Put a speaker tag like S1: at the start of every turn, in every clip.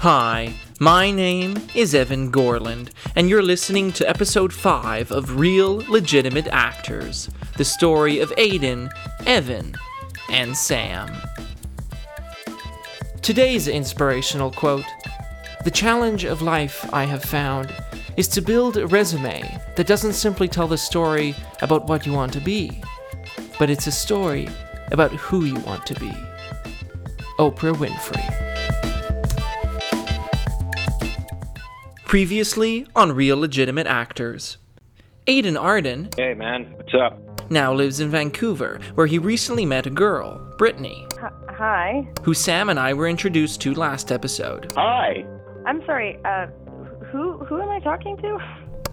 S1: Hi, my name is Evan Gorland, and you're listening to episode 5 of Real Legitimate Actors the story of Aiden, Evan, and Sam. Today's inspirational quote The challenge of life, I have found, is to build a resume that doesn't simply tell the story about what you want to be, but it's a story about who you want to be. Oprah Winfrey. Previously on Real Legitimate Actors. Aiden Arden
S2: Hey man, what's up?
S1: now lives in Vancouver, where he recently met a girl, Brittany,
S3: Hi.
S1: who Sam and I were introduced to last episode.
S2: Hi.
S3: I'm sorry. Uh, who who am I talking to?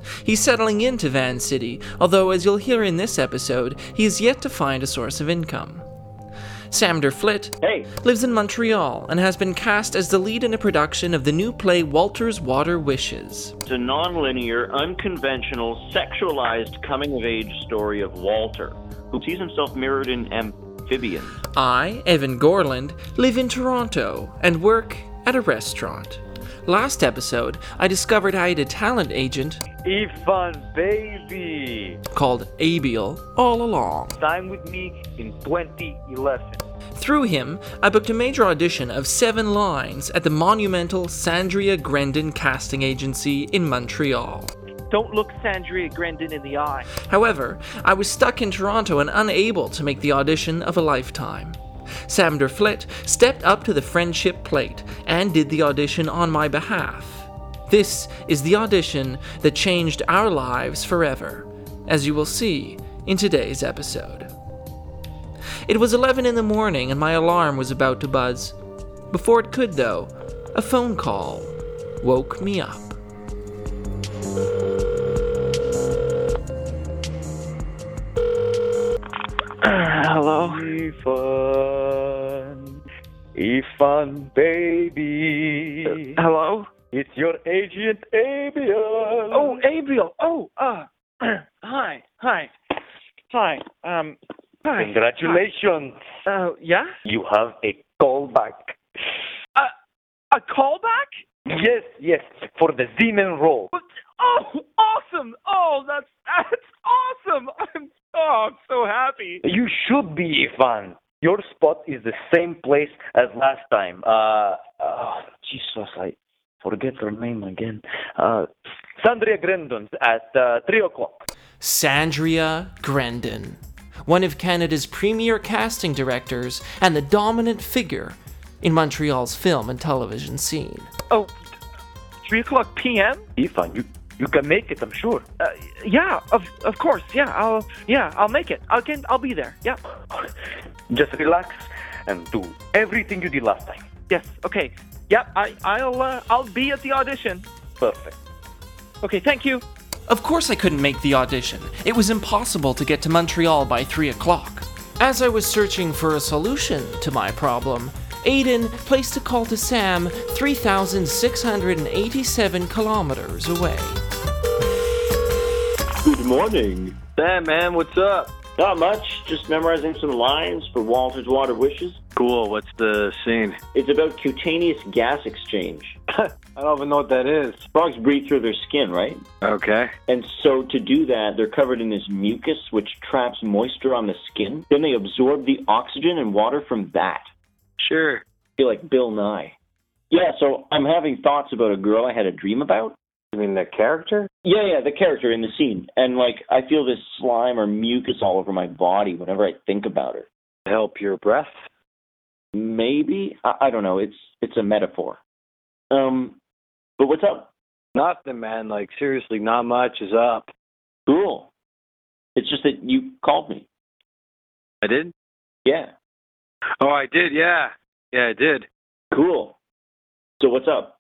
S1: He's settling into Van City, although, as you'll hear in this episode, he has yet to find a source of income. Sam Derflit
S2: Hey.
S1: lives in Montreal and has been cast as the lead in a production of the new play Walter's Water Wishes.
S2: It's a nonlinear, unconventional, sexualized coming of age story of Walter, who sees himself mirrored in amphibians.
S1: I, Evan Gorland, live in Toronto and work at a restaurant. Last episode, I discovered I had a talent agent
S4: Ivan, baby!
S1: called Abiel all along.
S4: Sign with me in 2011.
S1: Through him, I booked a major audition of seven lines at the monumental Sandria Grendon casting agency in Montreal.
S5: Don't look Sandria Grendon in the eye.
S1: However, I was stuck in Toronto and unable to make the audition of a lifetime. Sam Derflit stepped up to the friendship plate and did the audition on my behalf. This is the audition that changed our lives forever, as you will see in today's episode. It was 11 in the morning and my alarm was about to buzz. Before it could, though, a phone call woke me up.
S5: hello?
S4: Ivan, Ivan, baby!
S5: Hello?
S4: It's your agent, Abiel!
S5: Oh, Abiel. Oh, uh, hi, hi, hi, um, hi.
S4: Congratulations!
S5: Hi. Uh, yeah?
S4: You have a callback.
S5: A callback?
S4: Yes, yes, for the Zeman role.
S5: What- Oh, awesome! Oh, that's, that's awesome! I'm, oh, I'm so happy.
S4: You should be, Ivan. Your spot is the same place as last time. Uh, oh, Jesus, I forget her name again. Uh, Sandria Grendon at uh, 3 o'clock.
S1: Sandria Grendon, one of Canada's premier casting directors and the dominant figure in Montreal's film and television scene.
S5: Oh, 3 o'clock p.m.?
S4: Ivan, you, you can make it, I'm sure.
S5: Uh, yeah, of, of course, yeah, I'll, yeah, I'll make it. I'll, get, I'll be there, yeah.
S4: Just relax and do everything you did last time.
S5: Yes. Okay. Yep. I I'll uh, I'll be at the audition.
S4: Perfect.
S5: Okay. Thank you.
S1: Of course, I couldn't make the audition. It was impossible to get to Montreal by 3 o'clock. As I was searching for a solution to my problem, Aiden placed a call to Sam 3,687 kilometers away.
S6: Good morning.
S2: Sam, man, what's up?
S6: Not much, just memorizing some lines for Walter's Water Wishes.
S2: Cool. What's the scene?
S6: It's about cutaneous gas exchange.
S2: I don't even know what that is.
S6: Frogs breathe through their skin, right?
S2: Okay.
S6: And so to do that, they're covered in this mucus which traps moisture on the skin. Then they absorb the oxygen and water from that.
S2: Sure.
S6: feel like Bill Nye. Yeah, so I'm having thoughts about a girl I had a dream about.
S2: You mean the character?
S6: Yeah, yeah, the character in the scene. And like I feel this slime or mucus all over my body whenever I think about her.
S2: Help your breath.
S6: maybe I, I don't know it's it's a metaphor um but what's up
S2: Nothing, man. Like seriously, not much is up.
S6: cool it's just that you called me
S2: I did.
S6: yeah
S2: Oh, I did. Yeah. Yeah, I did.
S6: cool so what's up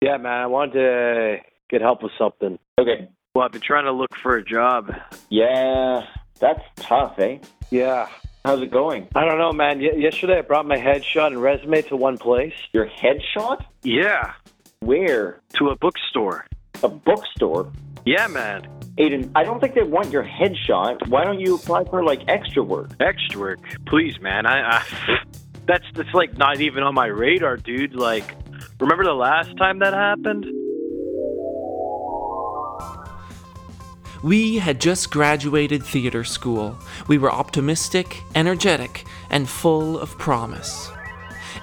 S2: Yeah, man. I wanted to get help with something.
S6: okay
S2: Well, I've been trying to look for a job.
S6: yeah that's tough eh
S2: Yeah.
S6: how's it going
S2: I don't know, man. Y- yesterday I brought my headshot and resume to one place.
S6: your headshot
S2: Yeah,
S6: where
S2: to a bookstore.
S6: a bookstore
S2: Yeah, man.
S6: aiden i don't think they want your headshot why don't you apply for like extra work
S2: Extra work, please, man. I, I that's that's like not even on my radar, dude. Like
S5: Remember the last time that happened?
S1: We had just graduated theater school. We were optimistic, energetic, and full of promise.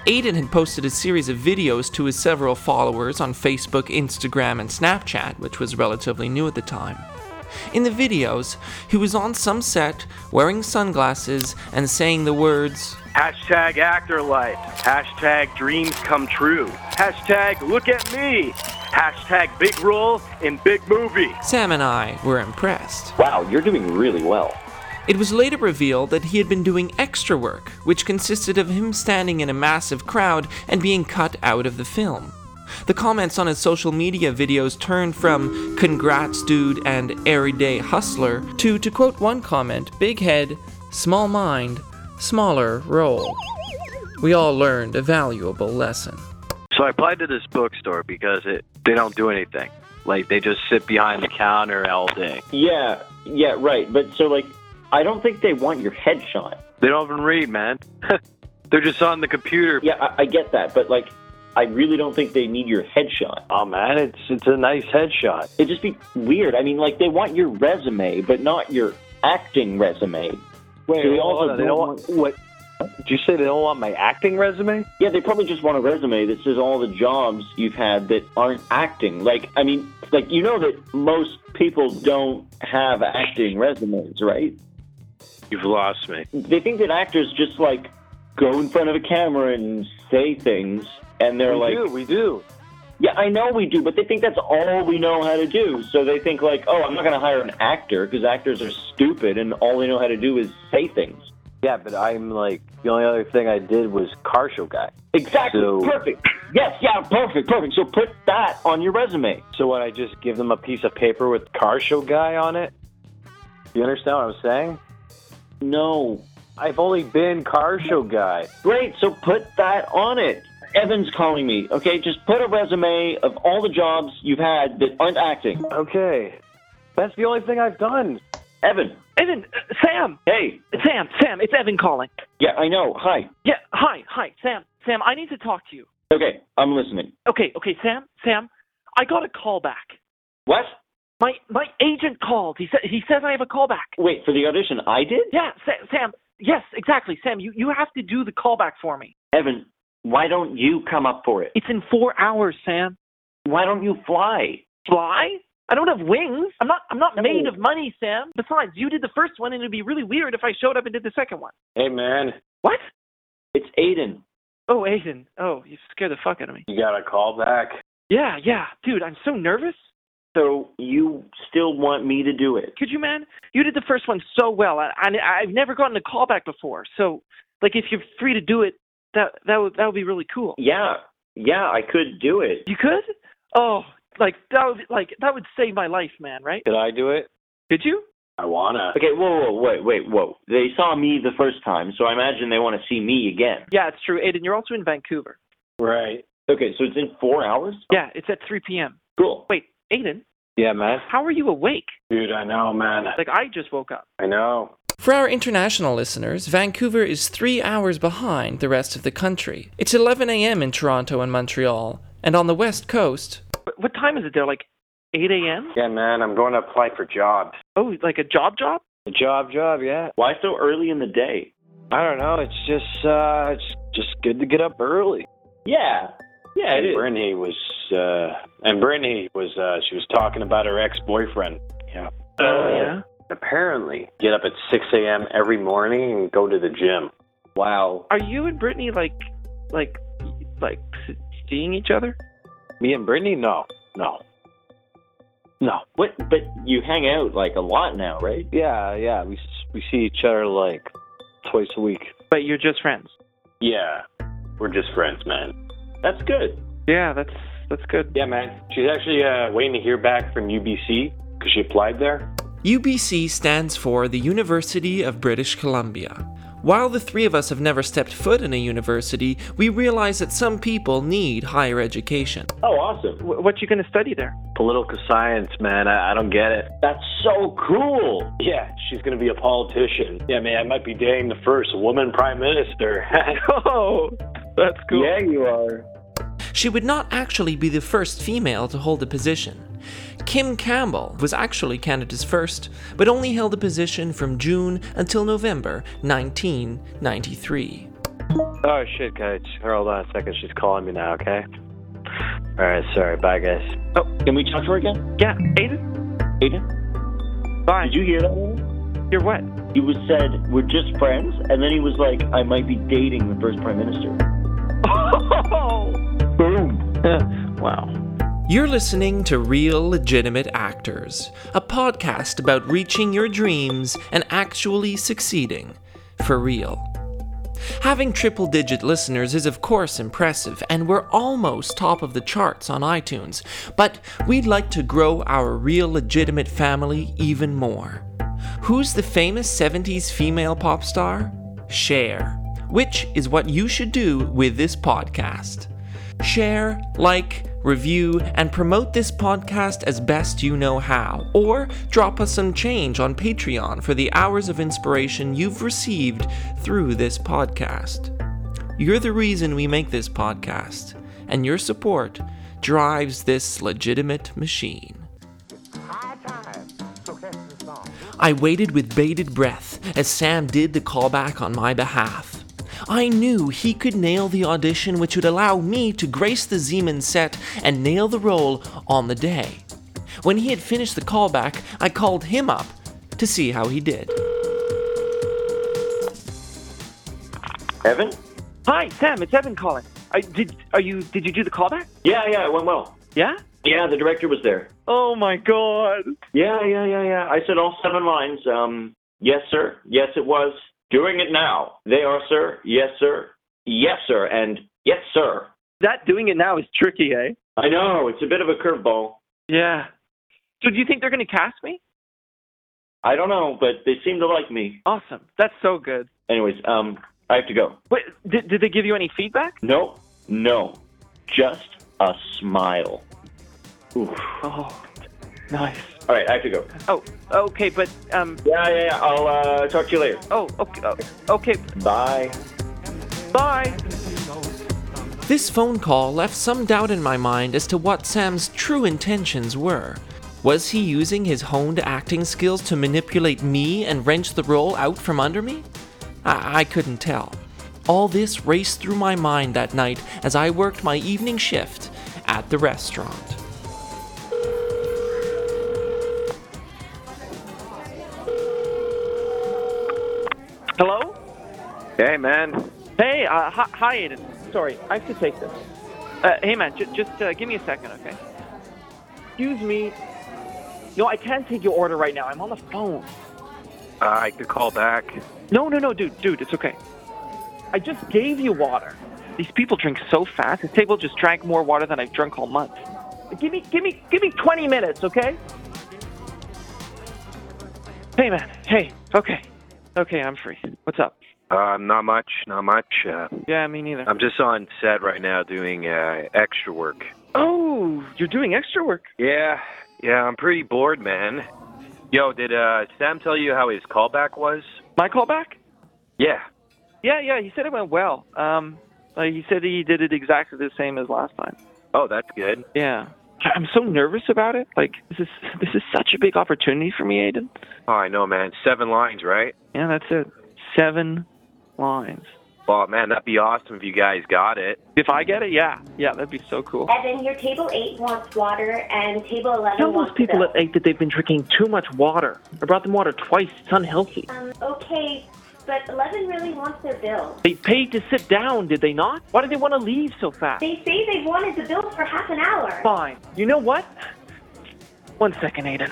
S1: Aiden had posted a series of videos to his several followers on Facebook, Instagram, and Snapchat, which was relatively new at the time. In the videos, he was on some set, wearing sunglasses, and saying the words,
S5: Hashtag actor life. Hashtag dreams come true. Hashtag look at me. Hashtag big role in big movie.
S1: Sam and I were impressed.
S6: Wow, you're doing really well.
S1: It was later revealed that he had been doing extra work, which consisted of him standing in a massive crowd and being cut out of the film. The comments on his social media videos turned from congrats dude and everyday hustler to, to quote one comment, big head, small mind, smaller role. We all learned a valuable lesson.
S7: So I applied to this bookstore because it they don't do anything. Like they just sit behind the counter all day.
S6: Yeah, yeah, right. But so, like, I don't think they want your headshot.
S7: They don't even read, man. They're just on the computer.
S6: Yeah, I, I get that, but like, I really don't think they need your headshot.
S7: Oh man, it's it's a nice headshot.
S6: It'd just be weird. I mean, like, they want your resume, but not your acting resume.
S7: Wait,
S6: They
S7: hold
S6: also
S7: on, they
S6: don't
S7: don't want, what? Did you say they don't want my acting resume?
S6: Yeah, they probably just want a resume that says all the jobs you've had that aren't acting. Like, I mean, like you know that most people don't have acting resumes, right?
S7: You've lost me.
S6: They think that actors just like go in front of a camera and say things, and they're
S7: we
S6: like,
S7: do, we do.
S6: "Yeah, I know we do," but they think that's all we know how to do. So they think like, "Oh, I'm not going to hire an actor because actors are stupid and all they know how to do is say things."
S7: Yeah, but I'm like the only other thing I did was car show guy.
S6: Exactly.
S7: So-
S6: Perfect. Yes. Yeah. Perfect. Perfect. So put that on your resume.
S7: So when I just give them a piece of paper with car show guy on it, you understand what I'm saying?
S6: No,
S7: I've only been car show guy.
S6: Great, so put that on it. Evan's calling me, okay? Just put a resume of all the jobs you've had that aren't acting.
S7: Okay, that's the only thing I've done.
S6: Evan,
S5: Evan, uh, Sam,
S6: hey.
S5: Sam, Sam, it's Evan calling.
S6: Yeah, I know. Hi.
S5: Yeah, hi, hi, Sam, Sam, I need to talk to you.
S6: Okay, I'm listening.
S5: Okay, okay, Sam, Sam, I got a call back.
S6: What?
S5: My my agent called. He said he says I have a call back.
S6: Wait, for the audition, I did?
S5: Yeah, Sam, Sam, yes, exactly, Sam. You you have to do the callback for me.
S6: Evan, why don't you come up for it?
S5: It's in four hours, Sam.
S6: Why don't you fly?
S5: Fly? I don't have wings. I'm not. I'm not made of money, Sam. Besides, you did the first one, and it'd be really weird if I showed up and did the second one.
S7: Hey man,
S5: What?
S6: It's Aiden.
S5: Oh, Aiden. Oh, you scared the fuck out of me.
S7: you got a call back.
S5: Yeah, yeah, dude. I'm so nervous.
S6: So you still want me to do it?
S5: Could you, man? You did the first one so well. I, I I've never gotten a call back before. So, like, if you're free to do it, that that would that would be really cool.
S6: Yeah, yeah, I could do it.
S5: You could? Oh, like that would like that would save my life, man. Right?
S7: Did I do it?
S5: Did you?
S7: I wanna.
S6: Okay, whoa, whoa, wait, wait, whoa. They saw me the first time, so I imagine they want to see me again.
S5: Yeah, it's true. Aiden, you're also in Vancouver.
S7: Right.
S6: Okay, so it's in four hours?
S5: Yeah, it's at 3 p.m.
S6: Cool.
S5: Wait, Aiden,
S7: Yeah, man.
S5: how are you awake?
S7: Dude, I know, man.
S5: Like I just woke up.
S7: I know.
S1: For our international listeners, Vancouver is three hours behind the rest of the country. It's 11 a.m. in Toronto and Montreal, and on the West Coast,
S5: Wh- What time is it there? Like 8 a.m.
S7: Yeah, man. I'm going to apply for jobs.
S5: Oh, like a job job?
S7: A job, job. Yeah.
S6: Why so early in the day?
S7: I don't know. It's just, uh, it's just good to get up early.
S6: Yeah. Yeah, it
S7: and
S6: is.
S7: Brittany was, uh, and Brittany was, uh, she was talking about her ex-boyfriend. Yeah. Uh,
S5: Oh yeah.
S7: Apparently, get up at 6 a.m. every morning and go to the gym.
S6: Wow.
S5: Are you and Brittany like, like, like s- seeing each other?
S7: Me and Brittany? No, no, no.
S6: What? But you hang out like a lot now, right?
S7: Yeah, yeah. We we see each other like twice a week.
S5: But you're just friends.
S7: Yeah, we're just friends, man.
S6: That's good.
S5: Yeah, that's that's good.
S7: Yeah, man. She's actually uh, waiting to hear back from UBC because she applied there.
S1: UBC stands for the University of British Columbia. While the three of us have never stepped foot in a university, we realize that some people need higher education.
S6: Oh, awesome.
S5: Wh- what you gonna study there?
S7: Political science, man. I, I don't get it.
S6: That's so cool.
S7: Yeah, she's gonna be a politician. Yeah, man. I might be dating the first woman prime minister.
S5: Oh, that's cool.
S7: you are.
S1: She would not actually be the first female to hold the position. Kim Campbell was actually Canada's first, but only held the position from June until November 1993.
S7: Oh shit, guys. Hold on a second. She's calling me now. Okay. All right. Sorry. Bye, guys.
S6: Oh, can we talk to her again?
S5: Yeah, Aiden,
S6: Aiden?
S5: bye.
S6: Did you hear that? Aiden?
S5: You're what?
S6: He was said, we're just friends, and then he was like, I might be dating the first prime minister.
S7: Boom. wow.
S1: You're listening to Real Legitimate Actors, a podcast about reaching your dreams and actually succeeding for real. Having triple digit listeners is, of course, impressive, and we're almost top of the charts on iTunes, but we'd like to grow our real legitimate family even more. Who's the famous 70s female pop star? Share, which is what you should do with this podcast share, like, review, and promote this podcast as best you know how. Or drop us some change on Patreon for the hours of inspiration you've received through this podcast. You're the reason we make this podcast, and your support drives this legitimate machine. I waited with bated breath as Sam did the callback on my behalf. I knew he could nail the audition, which would allow me to grace the Zeman set and nail the role on the day. When he had finished the callback, I called him up to see how he did.
S6: Evan?
S5: Hi, Sam. It's Evan calling. I, did are you did you do the callback?
S6: Yeah, yeah, it went well.
S5: Yeah.
S6: Yeah, the director was there.
S5: Oh my God.
S6: Yeah, yeah, yeah, yeah. I said all seven lines. Um, yes, sir. Yes, it was. Doing it now. They are, sir. Yes, sir. Yes, sir. And yes, sir.
S5: That doing it now is tricky, eh?
S6: I know it's a bit of a curveball.
S5: Yeah. So do you think they're gonna cast me?
S6: I don't know, but they seem to like me.
S5: Awesome. That's so good.
S6: Anyways, um, I have to go.
S5: Wait, did, did they give you any feedback?
S6: No, no, just a smile. Oof.
S5: Oh, nice.
S6: All right, I have to go.
S5: Oh, okay, but um,
S6: Yeah, yeah, yeah. I'll uh, talk to you later.
S5: oh, okay, oh, okay,
S6: Bye.
S5: bye.
S1: This phone call left some doubt in my mind as to what Sam's true intentions were. Was he using his honed acting skills to manipulate me and wrench the role out from under me? I, I couldn't tell. All this raced through my mind that night as I worked my evening shift at the restaurant.
S5: Hello.
S7: Hey, man.
S5: Hey, uh, hi, hi, Aiden. Sorry, I have to take this. Uh, hey, man, j- just uh, give me a second, okay? Excuse me. No, I can't take your order right now. I'm on the phone.
S7: Uh, I could call back.
S5: No, no, no, dude, dude, it's okay. I just gave you water. These people drink so fast. This table just drank more water than I've drunk all month. Give me, give me, give me 20 minutes, okay? Hey, man. Hey. Okay. Okay, I'm free. What's up?
S7: Uh, not much. Not much. Uh,
S5: Yeah, me neither.
S7: I'm just on set right now doing uh, extra work.
S5: Oh, you're doing extra work.
S7: Yeah. Yeah. I'm pretty bored, man. Yo, did uh, Sam tell you how his callback was?
S5: My callback?
S7: Yeah.
S5: Yeah, yeah. He said it went well. Um, uh, he said he did it exactly the same as last time.
S7: Oh, that's good.
S5: Yeah. I- I'm so nervous about it. Like this is this is such a big opportunity for me, Aiden.
S7: Oh, I know, man. Seven lines, right?
S5: Yeah, that's it. Seven lines.
S7: Oh, man, that'd be awesome if you guys got it.
S5: If I get it, yeah, yeah, that'd be so cool.
S8: Evan, your table eight wants water and table eleven
S5: Tell those
S8: wants
S5: people
S8: milk.
S5: at eight that they've been drinking too much water. I brought them water twice. It's unhealthy.
S8: Um, okay, but eleven really wants their bill.
S5: They paid to sit down, did they not? Why did they want to leave so fast?
S8: They say they've wanted the bill for half an hour.
S5: Fine. You know what? One second, Aiden.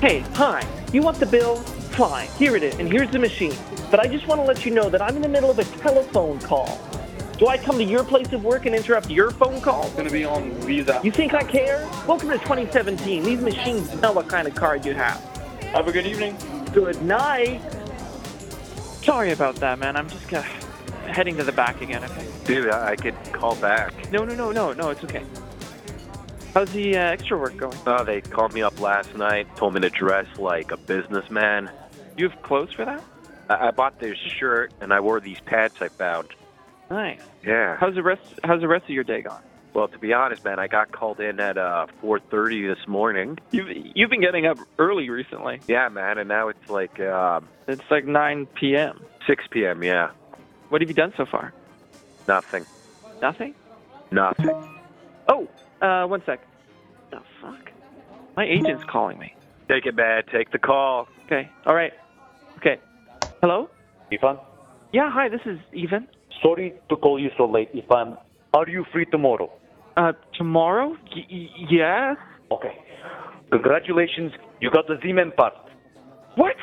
S5: Hey, hi. You want the bill? Fine. Here it is, and here's the machine. But I just want to let you know that I'm in the middle of a telephone call. Do I come to your place of work and interrupt your phone call? It's gonna be on Visa. You think I care? Welcome to 2017. These machines know what kind of card you have.
S6: Have a good evening.
S5: Good night. Sorry about that, man. I'm just uh, heading to the back again. Okay.
S7: Dude, I, I could call back.
S5: No, no, no, no, no. It's okay. How's the uh, extra work going?
S7: Oh, they called me up last night, told me to dress like a businessman.
S5: You have clothes for that?
S7: I, I bought this shirt and I wore these pants I found.
S5: Nice.
S7: Yeah.
S5: How's the rest? How's the rest of your day gone?
S7: Well, to be honest, man, I got called in at uh 4:30 this morning.
S5: You've you've been getting up early recently.
S7: Yeah, man, and now it's like uh,
S5: It's like 9 p.m.
S7: 6 p.m. Yeah,
S5: What have you done so far?
S7: nothing,
S5: Nothing.
S7: nothing.
S5: Oh, uh, one sec. The fuck? My agent's calling me.
S7: Take it, man. Take the call.
S5: Okay. All right. Okay. Hello?
S4: Ivan,
S5: Yeah. Hi. This is Even.
S4: sorry to call you so late, Ivan. Are you free tomorrow?
S5: Uh, tomorrow? Y- y- yes.
S4: Okay. Congratulations, you got the Z-Man part.
S5: What?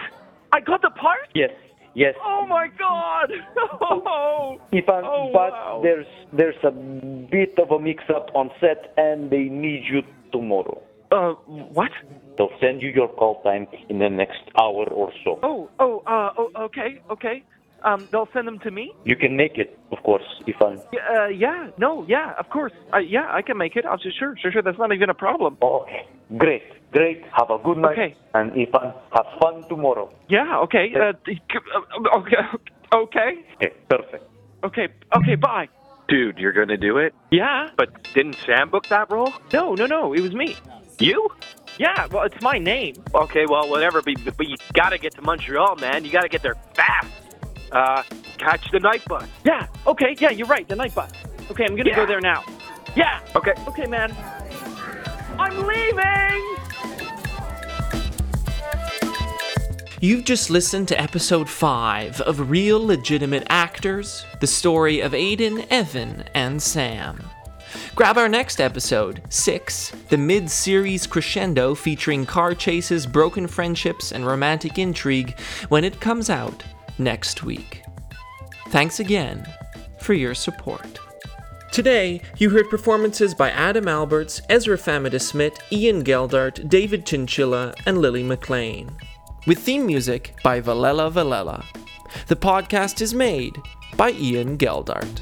S5: I got the part?
S4: Yes, yes.
S5: Oh my god! Oh.
S4: Ivan,
S5: Oh,
S4: but
S5: wow.
S4: there's there's a bit of a mix-up on set, and they need you tomorrow.
S5: Uh, what?
S4: They'll send you your call time in the next hour or so.
S5: Oh, oh, uh, oh, okay, okay. Um, they'll send them to me.
S4: You can make it, of course, Ivan.
S5: Y- Uh, yeah, no, yeah, of course. I, yeah, I can make it. I'm just sure, sure, sure. That's not even a problem.
S4: Okay, great, great. Have a good night,
S5: Okay.
S4: and Ivan, have fun tomorrow.
S5: Yeah, okay. Uh, d- c- uh, okay, okay,
S4: Okay, perfect.
S5: okay, okay. Bye.
S7: Dude, you're gonna do it.
S5: Yeah.
S7: But didn't Sam book that role?
S5: No, no, no. It was me.
S7: You?
S5: Yeah. Well, it's my name.
S7: Okay, well, whatever. But, but you gotta get to Montreal, man. You gotta get there fast. Uh, catch the night bus.
S5: Yeah. Okay. Yeah, you're right. The night bus. Okay, I'm gonna
S7: Yeah.
S5: go there now. Yeah.
S7: Okay.
S5: Okay, man. I'm leaving.
S1: You've just listened to episode 5 of Real Legitimate Actors the story of Aiden, Evan, and Sam. Grab our next episode, 6, the mid series crescendo featuring car chases, broken friendships, and romantic intrigue when it comes out next week. Thanks again for your support. Today, you heard performances by Adam Alberts, Ezra Famida Smith, Ian Geldart, David Chinchilla, and Lily McLean. With theme music by Valella Valella. The podcast is made by Ian Geldart.